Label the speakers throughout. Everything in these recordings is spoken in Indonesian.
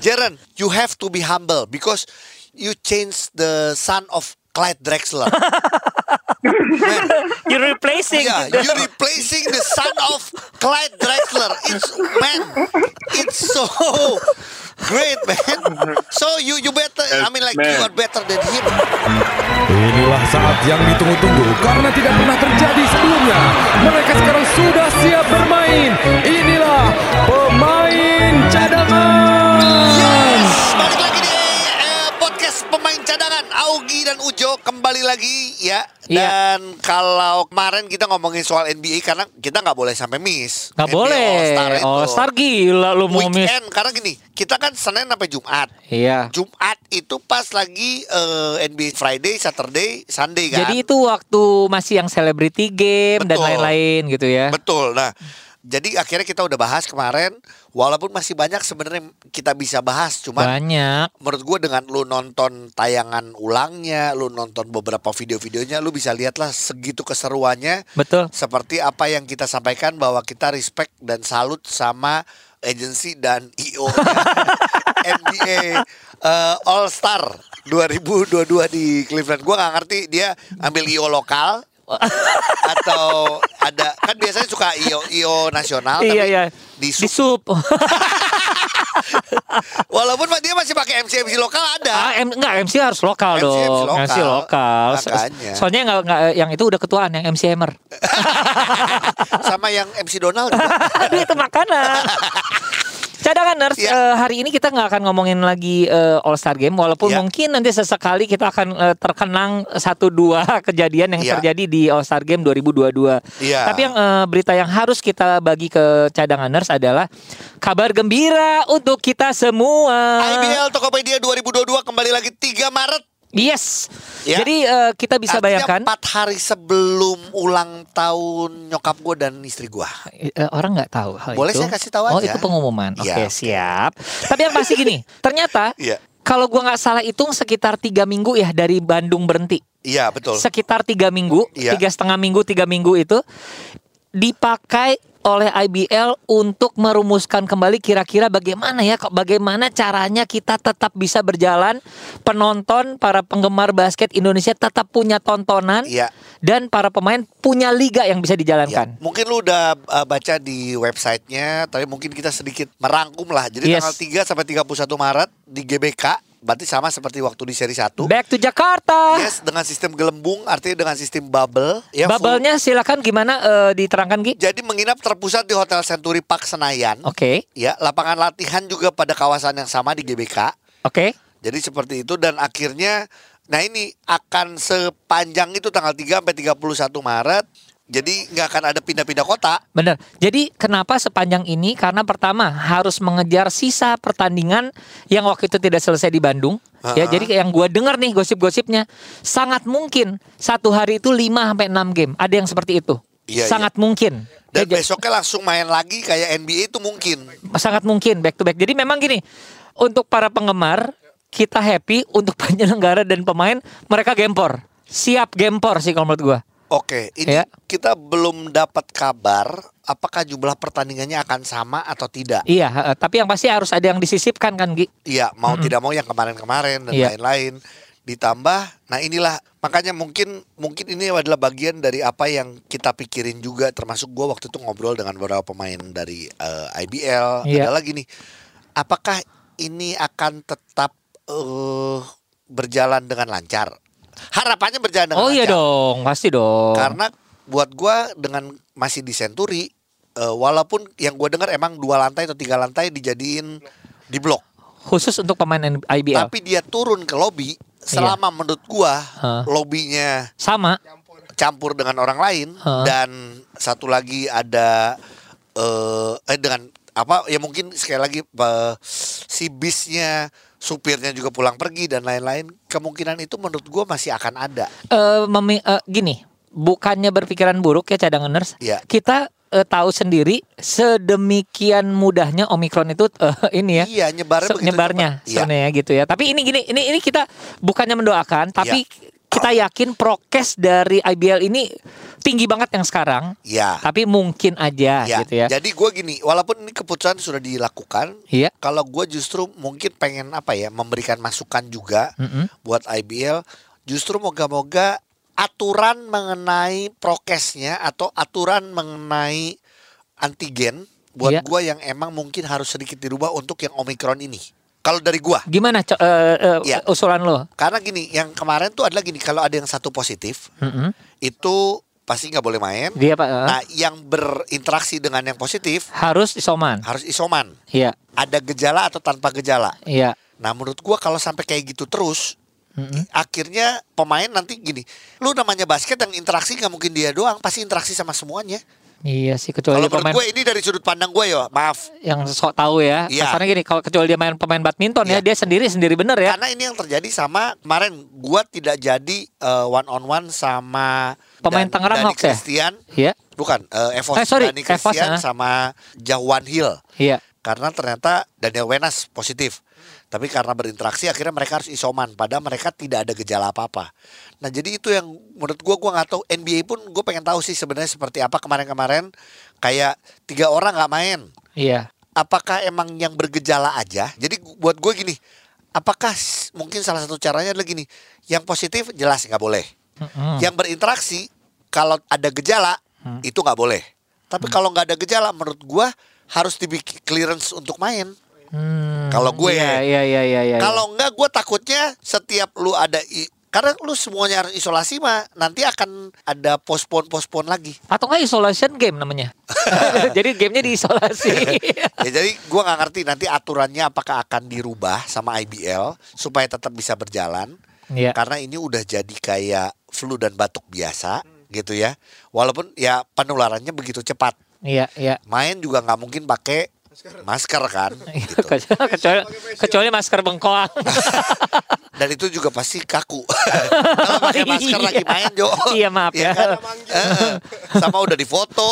Speaker 1: Jaren, you have to be humble because you change the son of Clyde Drexler. Man,
Speaker 2: You're replacing.
Speaker 1: yeah,
Speaker 2: the-
Speaker 1: you're replacing the son of Clyde Drexler. It's man, it's so great, man. So you you better. I mean, like you
Speaker 3: Man.
Speaker 1: are better than him.
Speaker 4: Inilah saat yang ditunggu-tunggu karena tidak pernah terjadi sebelumnya. Mereka sekarang sudah siap bermain. Inilah pemain cadangan.
Speaker 1: Yes, balik lagi di eh, podcast pemain cadangan Augie dan Ujo kembali lagi ya.
Speaker 2: Iya.
Speaker 1: Dan kalau kemarin kita ngomongin soal NBA karena kita nggak boleh sampai miss.
Speaker 2: Gak
Speaker 1: NBA
Speaker 2: boleh.
Speaker 1: All-Star itu.
Speaker 2: All Star gila lu mau miss.
Speaker 1: Weekend karena gini, kita kan Senin sampai Jumat.
Speaker 2: Iya.
Speaker 1: Jumat itu pas lagi eh, NBA Friday, Saturday, Sunday kan.
Speaker 2: Jadi itu waktu masih yang celebrity game dan
Speaker 1: Betul.
Speaker 2: lain-lain gitu ya.
Speaker 1: Betul. Nah, jadi akhirnya kita udah bahas kemarin walaupun masih banyak sebenarnya kita bisa bahas cuman
Speaker 2: Banyak.
Speaker 1: menurut gue dengan lu nonton tayangan ulangnya, lu nonton beberapa video-videonya, lu bisa lihatlah segitu keseruannya.
Speaker 2: Betul.
Speaker 1: Seperti apa yang kita sampaikan bahwa kita respect dan salut sama agensi dan IO NBA eh, All Star 2022 di Cleveland. Gua nggak ngerti dia ambil IO lokal atau ada kan biasanya suka IO IO nasional
Speaker 2: iya
Speaker 1: tapi
Speaker 2: iya.
Speaker 1: di
Speaker 2: Di sub.
Speaker 1: walaupun dia masih pakai MC MC lokal ada.
Speaker 2: Ah, M, enggak MC harus lokal
Speaker 1: MC
Speaker 2: dong.
Speaker 1: lokal.
Speaker 2: MC lokal. So-
Speaker 1: Makanya.
Speaker 2: soalnya enggak, enggak yang itu udah ketuaan yang MC Hammer.
Speaker 1: sama yang MC Donald juga.
Speaker 2: Aduh itu makanan. Cadanganers,
Speaker 1: Ya.
Speaker 2: eh, hari ini kita nggak akan ngomongin lagi eh, All Star Game, walaupun
Speaker 1: Ya.
Speaker 2: mungkin nanti sesekali kita akan eh, terkenang satu dua kejadian yang
Speaker 1: Ya.
Speaker 2: terjadi di All Star Game 2022.
Speaker 1: Iya.
Speaker 2: Tapi yang eh, berita yang harus kita bagi ke cadanganers adalah kabar gembira untuk kita semua.
Speaker 1: IBL Tokopedia 2022 kembali lagi 3 Maret.
Speaker 2: Yes.
Speaker 1: Ya.
Speaker 2: Jadi eh, kita bisa
Speaker 1: Artinya
Speaker 2: bayangkan
Speaker 1: empat hari sebelum ulang tahun nyokap gue dan istri gue.
Speaker 2: Eh, orang nggak tahu hal
Speaker 1: Boleh
Speaker 2: itu.
Speaker 1: saya kasih tahu
Speaker 2: oh,
Speaker 1: aja.
Speaker 2: itu pengumuman. Oke,
Speaker 1: Iya, oke.
Speaker 2: siap. Tapi yang pasti gini, ternyata
Speaker 1: Iya.
Speaker 2: kalau gua nggak salah hitung sekitar tiga minggu ya dari Bandung berhenti.
Speaker 1: Iya betul.
Speaker 2: Sekitar tiga minggu,
Speaker 1: Iya.
Speaker 2: tiga setengah minggu, tiga minggu itu dipakai oleh IBL untuk merumuskan kembali kira-kira bagaimana ya, bagaimana caranya kita tetap bisa berjalan, penonton, para penggemar basket Indonesia tetap punya tontonan,
Speaker 1: Iya.
Speaker 2: dan para pemain punya liga yang
Speaker 1: Ya,
Speaker 2: bisa dijalankan.
Speaker 1: mungkin lu udah uh, baca di websitenya, tapi mungkin kita sedikit merangkum lah. Jadi
Speaker 2: Yes.
Speaker 1: tanggal 3 sampai 31 Maret di GBK, berarti sama seperti waktu di seri 1.
Speaker 2: Back to Jakarta.
Speaker 1: Yes, dengan sistem gelembung, artinya dengan sistem bubble. Ya, full.
Speaker 2: Bubble-nya silakan gimana eh, diterangkan Ki?
Speaker 1: Jadi menginap terpusat di Hotel Century Park Senayan.
Speaker 2: Oke,
Speaker 1: Ya, lapangan latihan juga pada kawasan yang sama di GBK.
Speaker 2: oke.
Speaker 1: Jadi seperti itu dan akhirnya nah ini akan sepanjang itu tanggal 3 sampai 31 Maret. Jadi nggak akan ada pindah-pindah kota.
Speaker 2: Bener. Jadi kenapa sepanjang ini? Karena pertama harus mengejar sisa pertandingan yang waktu itu tidak selesai di Bandung.
Speaker 1: Ha-ha.
Speaker 2: Ya, jadi yang gua dengar nih gosip-gosipnya sangat mungkin satu hari itu 5 sampai 6 game. Ada yang seperti itu.
Speaker 1: Iya,
Speaker 2: sangat mungkin.
Speaker 1: Dan
Speaker 2: Ya, ja-
Speaker 1: besoknya langsung main lagi kayak NBA itu mungkin.
Speaker 2: sangat mungkin back to back. Jadi memang gini, untuk para penggemar kita happy, untuk penyelenggara dan pemain mereka gempor. Siap gempor sih kalau menurut gua.
Speaker 1: Oke, ini
Speaker 2: Ya.
Speaker 1: kita belum dapat kabar apakah jumlah pertandingannya akan sama atau tidak.
Speaker 2: Iya, heeh. tapi yang pasti harus ada yang disisipkan kan, Gi.
Speaker 1: Iya, mau tidak mau yang kemarin-kemarin dan
Speaker 2: Iya.
Speaker 1: lain-lain ditambah. Nah, inilah makanya mungkin mungkin ini adalah bagian dari apa yang kita pikirin juga termasuk gua waktu itu ngobrol dengan beberapa pemain dari eh, IBL. Ada
Speaker 2: Iya.
Speaker 1: lagi nih. Apakah ini akan tetap eh, berjalan dengan lancar? Harapannya berjalan dengan
Speaker 2: Oh iya
Speaker 1: lancar.
Speaker 2: dong, pasti dong.
Speaker 1: Karena buat gua dengan masih di Century eh, walaupun yang gua dengar emang dua lantai atau tiga lantai dijadiin di blok
Speaker 2: khusus untuk pemain N- IBL.
Speaker 1: tapi dia turun ke lobi selama menurut gua
Speaker 2: Iya. Hah.
Speaker 1: lobinya
Speaker 2: Sama.
Speaker 1: campur dengan orang lain
Speaker 2: Hah.
Speaker 1: dan satu lagi ada eh eh, dengan apa ya mungkin sekali lagi eh, si bisnya supirnya juga pulang pergi dan lain-lain kemungkinan itu menurut gua masih akan ada
Speaker 2: Eh, memi- eh, gini, bukannya berpikiran buruk ya cadanganers.
Speaker 1: Iya.
Speaker 2: Kita eh, tahu sendiri sedemikian mudahnya Omikron itu eh, ini ya.
Speaker 1: iya nyebarnya
Speaker 2: se-
Speaker 1: begitu
Speaker 2: nyebarnya
Speaker 1: cepat. Iya.
Speaker 2: sebenarnya gitu ya. Tapi ini gini, ini ini kita bukannya mendoakan, tapi kita yakin prokes dari IBL ini tinggi banget yang sekarang.
Speaker 1: Ya.
Speaker 2: Tapi mungkin aja gitu ya.
Speaker 1: iya. Jadi gue gini, walaupun ini keputusan sudah dilakukan,
Speaker 2: Iya.
Speaker 1: kalau gue justru mungkin pengen apa ya, memberikan masukan juga
Speaker 2: Mm-mm.
Speaker 1: buat IBL. Justru moga-moga aturan mengenai prokesnya atau aturan mengenai antigen buat
Speaker 2: Iya.
Speaker 1: gue yang emang mungkin harus sedikit dirubah untuk yang omikron ini. Kalau dari gue,
Speaker 2: Gimana co- eh, eh,
Speaker 1: Iya.
Speaker 2: usulan lo?
Speaker 1: karena gini, yang kemarin tuh adalah gini, kalau ada yang satu positif
Speaker 2: Mm-mm.
Speaker 1: itu pasti nggak boleh main.
Speaker 2: Dia pak eh,
Speaker 1: Nah, yang berinteraksi dengan yang positif
Speaker 2: harus isoman.
Speaker 1: harus isoman.
Speaker 2: Iya,
Speaker 1: ada gejala atau tanpa gejala.
Speaker 2: iya.
Speaker 1: Nah, menurut gua kalau sampai kayak gitu terus, i- akhirnya pemain nanti gini, lu namanya basket yang interaksi nggak mungkin dia doang, pasti interaksi sama semuanya.
Speaker 2: Iya sih
Speaker 1: Kalau
Speaker 2: kecuali dia
Speaker 1: menurut
Speaker 2: pemain
Speaker 1: gue ini dari sudut pandang gue ya, maaf.
Speaker 2: yang sok tahu ya.
Speaker 1: Iya.
Speaker 2: Kasarnya gini, kalau kecuali dia main pemain badminton ya,
Speaker 1: Iya.
Speaker 2: dia sendiri sendiri bener ya.
Speaker 1: Karena ini yang terjadi sama kemarin gua tidak jadi eh, one on one sama
Speaker 2: Pemain
Speaker 1: Dan-
Speaker 2: Tangerang
Speaker 1: Dani
Speaker 2: Hawks ya?
Speaker 1: Christian.
Speaker 2: Iya,
Speaker 1: Bukan, eh, Evos
Speaker 2: Eh, sorry,
Speaker 1: Dani
Speaker 2: Evos,
Speaker 1: Christian
Speaker 2: ah.
Speaker 1: sama Jawan Hill.
Speaker 2: iya.
Speaker 1: karena ternyata Daniel Wenas positif. Tapi karena berinteraksi akhirnya mereka harus isoman padahal mereka tidak ada gejala apa-apa. Nah, jadi itu yang menurut gua gua nggak tahu NBA pun gue pengen tahu sih sebenarnya seperti apa kemarin-kemarin kayak tiga orang nggak main.
Speaker 2: Iya.
Speaker 1: Apakah emang yang bergejala aja? Jadi gu- buat gue gini, apakah s- mungkin salah satu caranya adalah gini, yang positif jelas nggak boleh.
Speaker 2: Mm-mm.
Speaker 1: Yang berinteraksi kalau ada gejala itu nggak boleh. Tapi kalau nggak ada gejala menurut gua harus dibikin clearance untuk main.
Speaker 2: Hmm,
Speaker 1: Kalau gue
Speaker 2: iya, iya, iya, iya, iya.
Speaker 1: Kalau enggak gue takutnya setiap lu ada i- karena lu semuanya harus isolasi mah nanti akan ada postpone postpone lagi.
Speaker 2: atau nggak isolation game namanya. Jadi gamenya diisolasi.
Speaker 1: ya jadi gue nggak ngerti nanti aturannya apakah akan dirubah sama IBL supaya tetap bisa berjalan.
Speaker 2: Iya.
Speaker 1: Karena ini udah jadi kayak flu dan batuk biasa gitu ya. Walaupun ya penularannya begitu cepat.
Speaker 2: Iya, iya.
Speaker 1: Main juga nggak mungkin pakai masker kan.
Speaker 2: Iya,
Speaker 1: gitu.
Speaker 2: kecuali kecuali masker bengkoang.
Speaker 1: Dan itu juga pasti kaku. Kalau pakai masker lagi
Speaker 2: Iya.
Speaker 1: main Jo.
Speaker 2: Iya, maaf ya.
Speaker 1: kan? Eh, Sama udah difoto,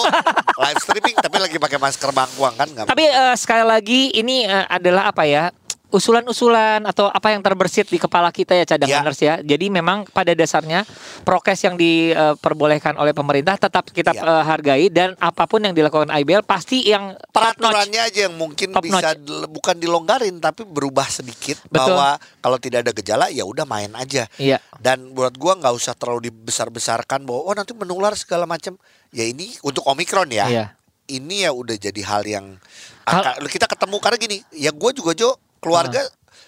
Speaker 1: live streaming tapi lagi pakai masker bangkuang kan nggak.
Speaker 2: Tapi eh, sekali lagi ini eh, adalah apa ya? usulan-usulan atau apa yang terbersit di kepala kita ya
Speaker 1: Iya.
Speaker 2: cadanganers ya. Jadi memang pada dasarnya prokes yang diperbolehkan oleh pemerintah tetap kita
Speaker 1: Iya.
Speaker 2: eh, hargai dan apapun yang dilakukan IBL pasti yang top notch.
Speaker 1: Peraturannya aja yang mungkin
Speaker 2: Top
Speaker 1: bisa dile- bukan dilonggarin tapi berubah sedikit
Speaker 2: Betul.
Speaker 1: bahwa kalau tidak ada gejala ya udah main aja.
Speaker 2: Iya.
Speaker 1: Dan buat gua nggak usah terlalu dibesar-besarkan bahwa oh nanti menular segala macam. Ya ini untuk Omikron ya.
Speaker 2: Iya.
Speaker 1: Ini ya udah jadi hal yang
Speaker 2: Hal-
Speaker 1: akan- kita ketemu karena gini, ya gua juga Jo keluarga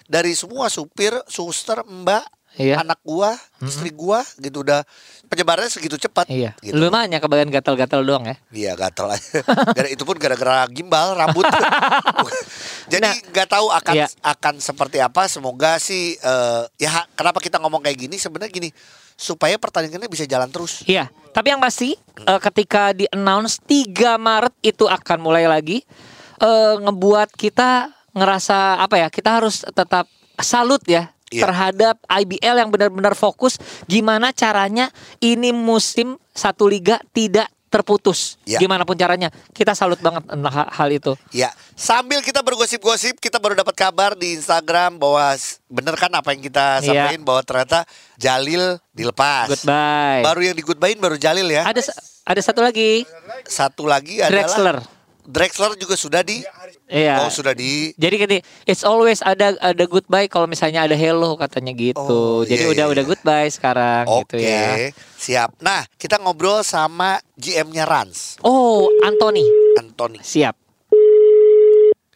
Speaker 1: dari semua supir, suster, mbak,
Speaker 2: Iya.
Speaker 1: anak gua, istri gua gitu udah penyebarannya segitu cepat.
Speaker 2: Iya.
Speaker 1: Gitu.
Speaker 2: Lu mah hanya kebagian gatal-gatal doang ya.
Speaker 1: Iya gatel aja. Gara itu pun gara-gara gimbal rambut. Jadi
Speaker 2: Nah,
Speaker 1: nggak tahu akan
Speaker 2: iya.
Speaker 1: akan seperti apa. Semoga sih eh, ya kenapa kita ngomong kayak gini sebenarnya gini supaya pertandingannya bisa jalan terus.
Speaker 2: Iya, tapi yang pasti eh, ketika di announce 3 Maret itu akan mulai lagi eh, ngebuat kita ngerasa apa ya? Kita harus tetap salut ya
Speaker 1: Iya.
Speaker 2: terhadap IBL yang benar-benar fokus gimana caranya ini musim satu liga tidak terputus.
Speaker 1: Iya.
Speaker 2: Gimana pun caranya. Kita salut banget tentang ha- hal itu.
Speaker 1: Ya, sambil kita bergosip-gosip, kita baru dapat kabar di Instagram bahwa s- bener kan apa yang kita
Speaker 2: Iya.
Speaker 1: sampaikan bahwa ternyata Jalil dilepas.
Speaker 2: Goodbye.
Speaker 1: Baru yang digubain baru Jalil ya.
Speaker 2: Ada sa- ada satu lagi
Speaker 1: Satu lagi adalah
Speaker 2: Drexler.
Speaker 1: Drexler juga sudah di
Speaker 2: Iya.
Speaker 1: Oh, sudah di
Speaker 2: Jadi gini, it's always ada ada goodbye kalau misalnya ada hello katanya
Speaker 1: Oh,
Speaker 2: gitu. Jadi
Speaker 1: iya,
Speaker 2: udah
Speaker 1: iya,
Speaker 2: udah
Speaker 1: iya.
Speaker 2: goodbye sekarang gitu
Speaker 1: Oke,
Speaker 2: ya.
Speaker 1: siap. Nah, kita ngobrol sama GM-nya Rans,
Speaker 2: Oh, Anthony,
Speaker 1: Anthony.
Speaker 2: siap.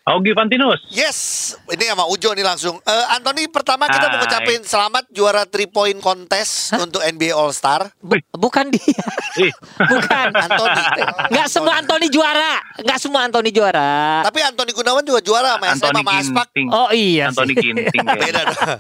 Speaker 3: Augie Pantinus.
Speaker 1: Yes, ini sama Ujo nih langsung. Eh, Anthony, pertama kita mau
Speaker 3: Hai.
Speaker 1: ngucapin selamat juara 3 point contest untuk NBA All Star.
Speaker 2: Bu- bukan dia.
Speaker 3: Ih,
Speaker 2: bukan.
Speaker 1: Anthony.
Speaker 2: Nggak semua Anthony juara. Nggak semua Anthony juara.
Speaker 1: Tapi Anthony Gunawan juga juara sama SMA
Speaker 3: Anthony
Speaker 1: sama Aspak.
Speaker 3: Ginting.
Speaker 2: Oh iya.
Speaker 3: Anthony
Speaker 2: sih.
Speaker 3: Ginting. ya.
Speaker 1: Beda dong.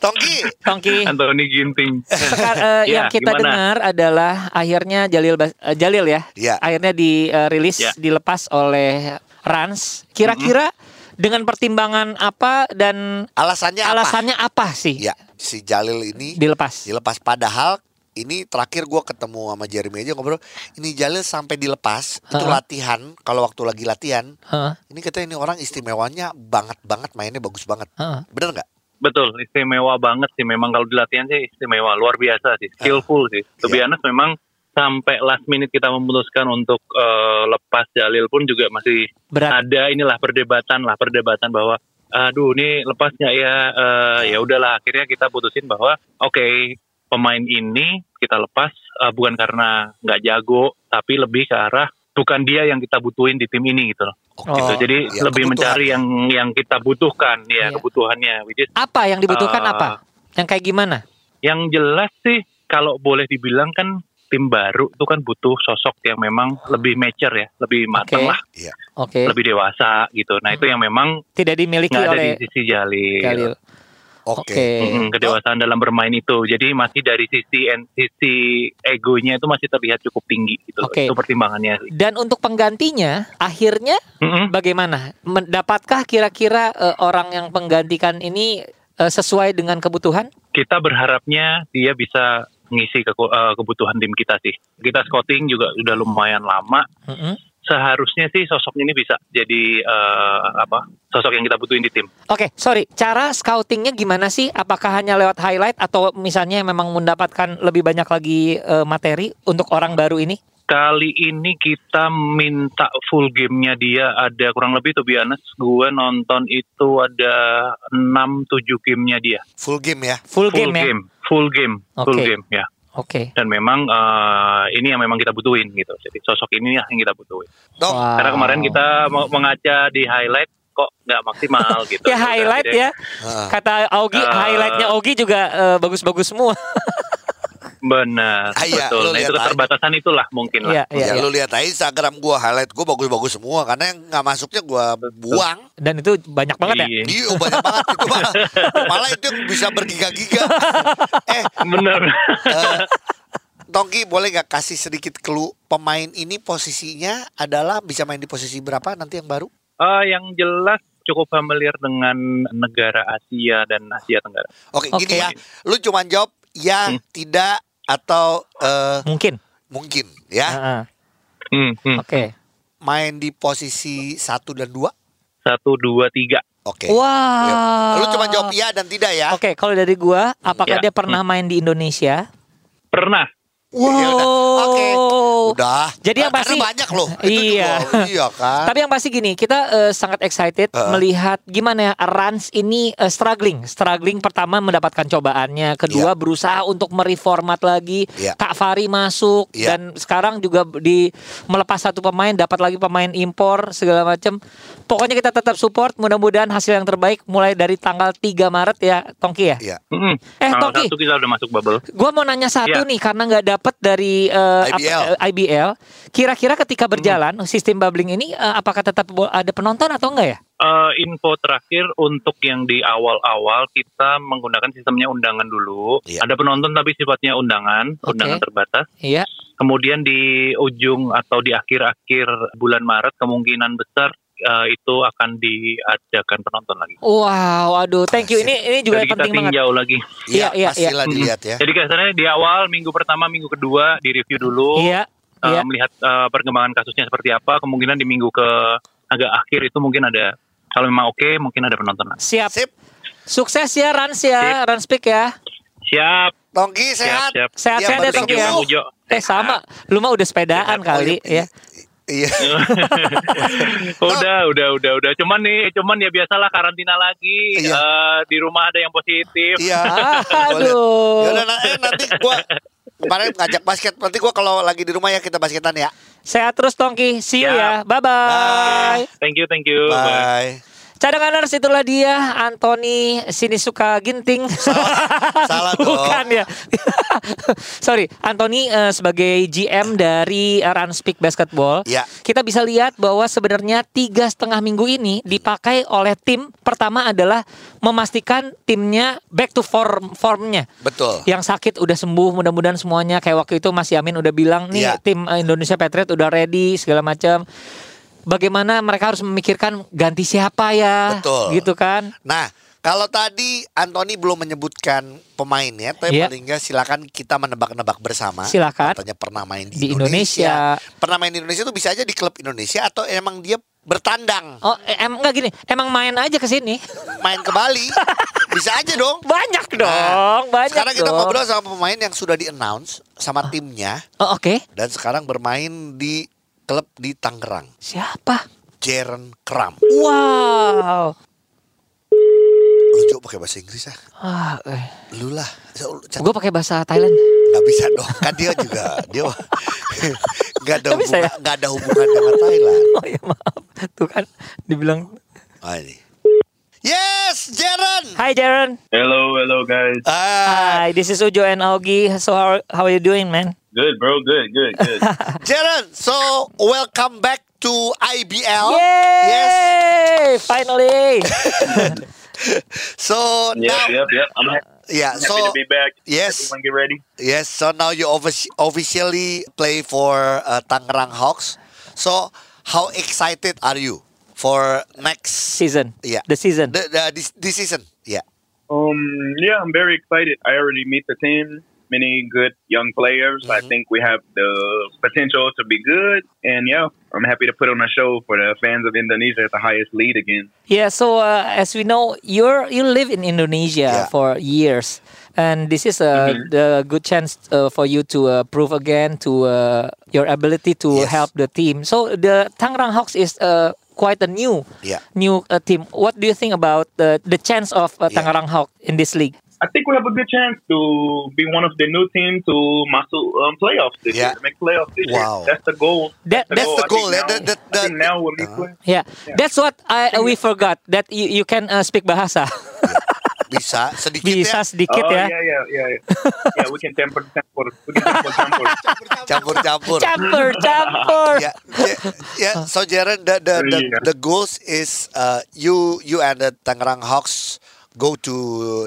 Speaker 1: Tongki,
Speaker 2: Tongki.
Speaker 3: Anthony Ginting.
Speaker 2: Sekar- eh,
Speaker 3: Ya,
Speaker 2: yang kita
Speaker 3: gimana?
Speaker 2: dengar adalah akhirnya Jalil Bas- eh, Jalil ya,
Speaker 1: Ya.
Speaker 2: akhirnya dirilis
Speaker 3: Ya.
Speaker 2: dilepas oleh Rans. Kira-kira
Speaker 3: Mm-hmm.
Speaker 2: dengan pertimbangan apa dan
Speaker 1: alasannya apa?
Speaker 2: alasannya apa sih
Speaker 1: Ya, si Jalil ini
Speaker 2: dilepas?
Speaker 1: dilepas padahal ini terakhir gua ketemu sama Jeremy aja ngobrol ini Jalil sampai dilepas itu
Speaker 2: Heeh.
Speaker 1: latihan kalau waktu lagi latihan
Speaker 2: Heeh.
Speaker 1: Ini katanya ini orang istimewanya banget banget mainnya bagus banget.
Speaker 2: Heeh.
Speaker 1: Bener nggak?
Speaker 3: betul istimewa banget sih memang kalau di latihan sih istimewa luar biasa sih skillful sih
Speaker 2: Iya.
Speaker 3: lebih honest memang sampai last minute kita memutuskan untuk eh, lepas Jalil pun juga masih
Speaker 2: Berat.
Speaker 3: ada inilah perdebatan lah perdebatan bahwa aduh ini lepasnya ya eh, ya udahlah akhirnya kita putusin bahwa oke pemain ini kita lepas eh, bukan karena nggak jago tapi lebih ke arah bukan dia yang kita butuhin di tim ini gitu loh. Gitu.
Speaker 2: Oh,
Speaker 3: Jadi
Speaker 1: iya,
Speaker 3: lebih
Speaker 1: kebutuhan.
Speaker 3: mencari yang yang kita butuhkan ya
Speaker 2: Iya.
Speaker 3: kebutuhannya which is
Speaker 2: Apa yang dibutuhkan
Speaker 3: Ah.
Speaker 2: apa? Yang kayak gimana?
Speaker 3: yang jelas sih kalau boleh dibilang kan tim baru itu kan butuh sosok yang memang lebih mature ya, lebih
Speaker 2: Oke.
Speaker 3: matang
Speaker 2: Hmm.
Speaker 3: lah,
Speaker 1: Iya.
Speaker 2: Oke.
Speaker 3: lebih dewasa gitu. Nah, itu yang memang
Speaker 2: Tidak dimiliki
Speaker 3: nggak ada
Speaker 2: oleh
Speaker 3: di sisi Jalil.
Speaker 2: Galil.
Speaker 1: Oke.
Speaker 2: Oke.
Speaker 3: Mm-mm, kedewasaan dalam bermain itu. Jadi masih dari sisi en- sisi egonya itu masih terlihat cukup tinggi gitu. loh.
Speaker 2: Oke.
Speaker 3: Itu pertimbangannya sih.
Speaker 2: Dan untuk penggantinya akhirnya
Speaker 3: Mm-mm.
Speaker 2: bagaimana? Mendapatkah kira-kira eh, orang yang menggantikan ini eh, sesuai dengan kebutuhan?
Speaker 3: Kita berharapnya dia bisa ngisi keku- eh, kebutuhan tim kita sih. Kita scouting juga udah lumayan lama.
Speaker 2: Mm-mm.
Speaker 3: Seharusnya sih sosoknya ini bisa jadi eh, apa? Sosok yang kita butuhin di tim.
Speaker 2: Oke, sorry. Cara scoutingnya gimana sih? Apakah hanya lewat highlight atau misalnya memang mendapatkan lebih banyak lagi eh, materi untuk orang baru ini?
Speaker 3: Kali ini kita minta full gamenya dia ada kurang lebih tuh Bianes. Gue nonton itu ada 6-7 gamenya dia.
Speaker 1: Full game ya.
Speaker 2: Full, game, ya.
Speaker 3: Full game. Full
Speaker 2: Oke.
Speaker 3: game ya.
Speaker 2: Oke.
Speaker 3: Dan memang eh, ini yang memang kita butuhin gitu. Jadi sosok ini yang kita butuhin.
Speaker 1: Dok,
Speaker 2: Wow.
Speaker 3: Oh, Karena kemarin kita mau mengaca di highlight kok nggak maksimal gitu.
Speaker 2: ya highlight ya.
Speaker 1: Ah.
Speaker 2: Kata Augie
Speaker 3: Ah.
Speaker 2: highlightnya Augie juga eh, bagus-bagus semua.
Speaker 3: Benar.
Speaker 1: Ah, iya, lu
Speaker 3: betul. Nah, itu
Speaker 1: lihat aja.
Speaker 3: keterbatasan itulah mungkin lah.
Speaker 2: Iya, iya,
Speaker 1: ya,
Speaker 2: iya.
Speaker 1: lu lihat aja Instagram gua highlight gua bagus-bagus semua karena yang nggak masuknya gua buang.
Speaker 2: Dan itu banyak banget ya.
Speaker 3: Iya.
Speaker 1: Iya banyak banget itu malah, malah itu yang bisa bergiga-giga. eh,
Speaker 3: Benar.
Speaker 1: eh, Tongki boleh nggak kasih sedikit clue pemain ini posisinya adalah bisa main di posisi berapa nanti yang baru?
Speaker 3: Eh, yang jelas cukup familiar dengan negara Asia dan Asia Tenggara.
Speaker 1: Oke,
Speaker 2: Oke.
Speaker 1: gini ya. Lu cuman jawab ya, tidak atau eh,
Speaker 2: Mungkin.
Speaker 1: mungkin ya.
Speaker 2: Ah, ah.
Speaker 3: Hmm, hmm.
Speaker 2: Oke.
Speaker 1: Main di posisi satu dan dua.
Speaker 3: Satu, dua, tiga.
Speaker 1: Oke.
Speaker 2: Wah.
Speaker 1: Ya. Lu cuma jawab iya dan tidak ya.
Speaker 2: Oke, kalau dari gua, apakah
Speaker 3: Ya.
Speaker 2: dia pernah main di Indonesia?
Speaker 3: Pernah.
Speaker 1: Ya, ya udah. Oke.
Speaker 2: Wow.
Speaker 1: Udah.
Speaker 2: Jadi yang
Speaker 1: Karena
Speaker 2: pasti-
Speaker 1: banyak loh. Itu
Speaker 2: Iya.
Speaker 1: juga, iya kan.
Speaker 2: Tapi yang pasti gini, kita eh, sangat excited
Speaker 1: Heeh.
Speaker 2: melihat gimana ya Rans ini eh, struggling, struggling pertama mendapatkan cobaannya, kedua berusaha untuk mereformat lagi.
Speaker 1: Iya.
Speaker 2: Kak Fari masuk
Speaker 1: Iya.
Speaker 2: dan sekarang juga di melepas satu pemain dapat lagi pemain impor segala macam. Pokoknya kita tetap support, mudah-mudahan hasil yang terbaik mulai dari tanggal 3 Maret ya, Tongki
Speaker 1: Iya.
Speaker 2: ya. Eh,
Speaker 3: Hmm. Tanggal
Speaker 2: Toki.
Speaker 3: satu kita udah masuk bubble.
Speaker 2: Gua mau nanya satu
Speaker 3: Iya.
Speaker 2: nih karena nggak dapet dari eh, apa-
Speaker 1: IBL.
Speaker 2: eh, IBL. Kira-kira ketika berjalan sistem bubbling ini eh, apakah tetap bo- ada penonton atau enggak ya?
Speaker 3: Eh, info terakhir untuk yang di awal-awal kita menggunakan sistemnya undangan dulu.
Speaker 1: Iya.
Speaker 3: Ada penonton tapi sifatnya undangan,
Speaker 2: Oke.
Speaker 3: undangan terbatas.
Speaker 2: Iya.
Speaker 3: Kemudian di ujung atau di akhir-akhir bulan Maret kemungkinan besar eh, itu akan diadakan penonton lagi.
Speaker 2: Wow, aduh, thank you. Ini ini juga
Speaker 3: Jadi kita
Speaker 2: penting banget.
Speaker 3: tinjau lagi.
Speaker 1: Iya,
Speaker 2: Iya, iya,
Speaker 1: pastilah dilihat ya.
Speaker 3: Jadi kesannya di awal minggu pertama, minggu kedua di review dulu.
Speaker 2: Iya,
Speaker 3: Eh,
Speaker 2: iya.
Speaker 3: melihat eh, perkembangan kasusnya seperti apa kemungkinan di minggu ke agak akhir itu mungkin ada kalau memang oke mungkin ada penonton
Speaker 2: Siap.
Speaker 1: Sip.
Speaker 2: Sukses ya Rans ya, Rans Pick ya.
Speaker 3: siap
Speaker 1: Tongki sehat.
Speaker 3: siap.
Speaker 2: Sehat-sehat
Speaker 1: Iya,
Speaker 2: ya
Speaker 1: bersama
Speaker 2: Tongki ya.
Speaker 1: Bang
Speaker 3: Ujo.
Speaker 2: Eh sama, lu mah udah sepedaan
Speaker 1: Oh,
Speaker 2: kali
Speaker 1: iya.
Speaker 2: ya.
Speaker 1: Iya.
Speaker 3: udah udah udah udah cuman nih cuman ya biasalah karantina lagi
Speaker 1: Iya.
Speaker 3: Eh, di rumah ada yang positif
Speaker 1: Iya.
Speaker 2: Aduh.
Speaker 1: Yaudah, nah, eh, nanti gua kemarin ngajak basket. Nanti gua kalau lagi di rumah ya kita basketan ya.
Speaker 2: Sehat terus Tongki. See you ya.
Speaker 3: Siap.
Speaker 2: Bye bye.
Speaker 3: thank you thank you Bye.
Speaker 1: Bye.
Speaker 2: Cadanganers itulah dia Anthony Sinisuka Ginting.
Speaker 1: salah dong.
Speaker 2: Bukan ya. Sorry, Anthony eh, sebagai GM dari Ranspik Basketball.
Speaker 1: Ya.
Speaker 2: Kita bisa lihat bahwa sebenarnya tiga setengah minggu ini dipakai oleh tim pertama adalah memastikan timnya back to form formnya.
Speaker 1: Betul.
Speaker 2: Yang sakit udah sembuh, mudah-mudahan semuanya kayak waktu itu Mas Yamin udah bilang
Speaker 1: Iya.
Speaker 2: nih tim eh, Indonesia Patriot udah ready segala macam. Bagaimana mereka harus memikirkan ganti siapa ya?
Speaker 1: Betul.
Speaker 2: Gitu kan?
Speaker 1: Nah, kalau tadi Anthony belum menyebutkan pemainnya, tapi
Speaker 2: Iya.
Speaker 1: paling nggak silakan kita menebak-nebak bersama.
Speaker 2: Silakan.
Speaker 1: Katanya pernah main di,
Speaker 2: Di Indonesia.
Speaker 1: Pernah main di Indonesia itu bisa aja di klub Indonesia atau emang dia bertandang
Speaker 2: Oh, eh, em enggak gini. Emang main aja ke sini.
Speaker 1: main ke Bali bisa aja dong.
Speaker 2: Banyak
Speaker 1: Nah,
Speaker 2: dong, banyak
Speaker 1: Sekarang kita
Speaker 2: dong.
Speaker 1: ngobrol sama pemain yang sudah di announce sama timnya
Speaker 2: Oh, oke.
Speaker 1: dan sekarang bermain di klub di Tangerang.
Speaker 2: Siapa?
Speaker 1: Jaren Kram.
Speaker 2: Wow.
Speaker 1: Lucu pakai bahasa Inggris ah.
Speaker 2: Ah, eh.
Speaker 1: Lu lah. Cantik.
Speaker 2: Gue pakai bahasa Thailand.
Speaker 1: Gak bisa dong. Kan dia juga dia nggak ada
Speaker 2: Nggak bisa
Speaker 1: hubungan,
Speaker 2: ya?
Speaker 1: nggak ada hubungan dengan Thailand.
Speaker 2: Oh ya maaf. Tuh kan dibilang.
Speaker 1: Ah, ini. Yes, Jaren.
Speaker 2: Hi Jaron.
Speaker 3: Hello, hello guys.
Speaker 1: Ah,
Speaker 2: Hi, this is Ujo and Augie. So how how are you doing, man?
Speaker 3: Good, bro. Good, good, good.
Speaker 1: Jaren, so welcome back to IBL.
Speaker 2: Yay!
Speaker 1: Oh, Yes.
Speaker 2: Finally.
Speaker 1: So now,
Speaker 3: yep, yep, yep. I'm happy
Speaker 1: yeah. So
Speaker 3: to be back.
Speaker 1: yes,
Speaker 3: Everyone get ready.
Speaker 1: yes. So now you offici- officially play for uh, Tangerang Hawks. So how excited are you for next?
Speaker 2: season.
Speaker 1: Yeah.
Speaker 2: The season.
Speaker 1: The, the, this, this season, Ya, yeah.
Speaker 3: Um, yeah, I'm very excited. I already meet the team. Many good young players. I think we have the potential to be good. And yeah, I'm happy to put on a show for the fans of Indonesia at the highest league again.
Speaker 2: yeah. So uh, as we know, you're you live in Indonesia
Speaker 1: Yeah.
Speaker 2: for years, and this is a the good chance uh, for you to uh, prove again to uh, your ability
Speaker 1: Yes.
Speaker 2: to help the team. So the Tangerang Hawks is uh, quite a new
Speaker 1: Yeah.
Speaker 2: new uh, team. What do you think about the the chance of uh,
Speaker 1: Yeah.
Speaker 2: Tangerang Hawks in this league?
Speaker 3: I think we have a good chance to be one of the new teams to muscle um, playoffs this
Speaker 1: Yeah.
Speaker 3: year, to make playoffs this
Speaker 1: Wow.
Speaker 3: year. That's the goal.
Speaker 2: That- that's
Speaker 1: the
Speaker 3: I think
Speaker 1: goal, yeah.
Speaker 3: Now,
Speaker 1: That- that-
Speaker 3: I think
Speaker 1: that-
Speaker 3: now with me
Speaker 1: Uh-huh.
Speaker 2: Yeah, that's what I we forgot that you, you can uh, speak bahasa.
Speaker 1: Bisa sedikit ya.
Speaker 2: Bisa sedikit
Speaker 3: oh,
Speaker 2: ya.
Speaker 3: yeah, yeah, yeah, yeah. yeah, we can temper temper. We can temper temper.
Speaker 1: Campur-campur.
Speaker 2: Campur, campur.
Speaker 1: yeah, yeah, yeah. So Jaren, the the,
Speaker 3: Yeah.
Speaker 1: the the goals is uh, you you and the Tangerang Hawks go to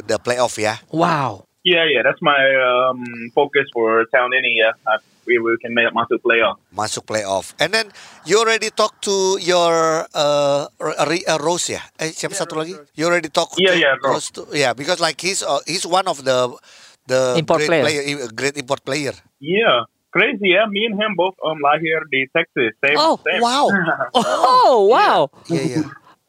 Speaker 1: the playoff ya.
Speaker 2: Wow.
Speaker 3: yeah, yeah, that's my um, focus for Town Any. Yeah, I, we, we can make my playoff.
Speaker 1: masuk playoff. And then you already talk to your uh, Ro- Ri- uh, Rose ya? Eh siapa satu lagi? You already talk
Speaker 3: Yeah,
Speaker 1: to
Speaker 3: yeah,
Speaker 1: Rose.
Speaker 3: Rose.
Speaker 1: to- yeah, because like he's uh, he's one of the the
Speaker 2: Import
Speaker 1: great
Speaker 2: player.
Speaker 1: i- great import player.
Speaker 3: Yeah, crazy. Yeah, me and him both um live here in Texas. Same,
Speaker 2: Oh,
Speaker 3: same.
Speaker 1: Wow.
Speaker 2: Oh, wow.
Speaker 1: Iya, iya.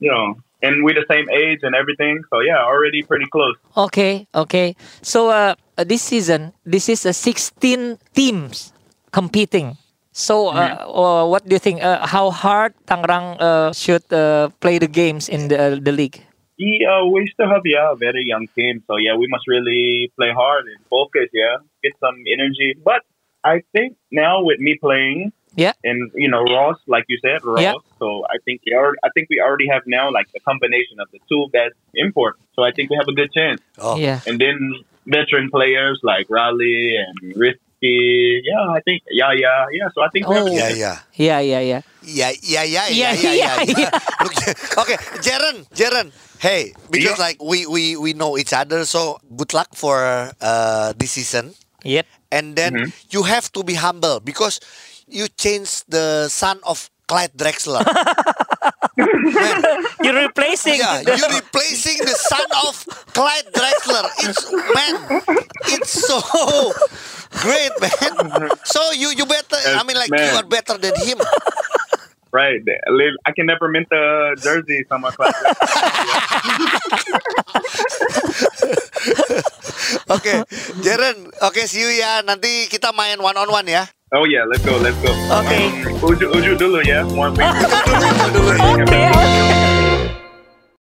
Speaker 3: You know, and we the same age and everything. So yeah, already pretty close.
Speaker 2: Okay, okay. So uh, this season, this is uh, 16 teams competing. So uh, uh, what do you think? Uh, how hard Tangerang uh, should uh, play the games in the, uh, the league?
Speaker 3: Yeah, uh, we still have yeah a very young team, so yeah, we must really play hard and focus. Yeah, get some energy. But I think now with me playing
Speaker 2: Yeah.
Speaker 3: and you know Ross, like you said, Ross.
Speaker 2: Yeah.
Speaker 3: So I think we already, I think we already have now like the combination of the two best import. So I think we have a good chance.
Speaker 1: Oh.
Speaker 2: Yeah.
Speaker 3: And then veteran players like Riley and Risky. Yeah, I think yeah, yeah, yeah. So I think we have a
Speaker 2: Oh.
Speaker 1: Iya,
Speaker 3: good
Speaker 1: iya.
Speaker 2: Yeah, yeah, yeah.
Speaker 1: Iya, iya, iya,
Speaker 2: Iya,
Speaker 1: iya, iya,
Speaker 2: iya,
Speaker 1: iya. Look, Okay, Jaren, Jaren. Hey, because like we we we know each other, so good luck for uh, this season.
Speaker 2: Yep.
Speaker 1: and then you have to be humble because you change the son of Clyde Drexler. Man,
Speaker 2: You're replacing.
Speaker 1: yeah,
Speaker 2: the-
Speaker 1: you're replacing the son of Clyde Drexler. It's man, it's so great, man. So you you better. I mean, like you
Speaker 3: Man.
Speaker 1: are better than him.
Speaker 3: Right. Live- I can never mint the jersey from my class.
Speaker 1: Oke, Jaren. Oke, see you ya. Nanti kita main one on one ya.
Speaker 3: oh yeah, let's go, let's go.
Speaker 2: Okay.
Speaker 3: Um, Uju, Uju dulu, yeah. One week.
Speaker 1: Dulu ya.
Speaker 2: Okay, okay.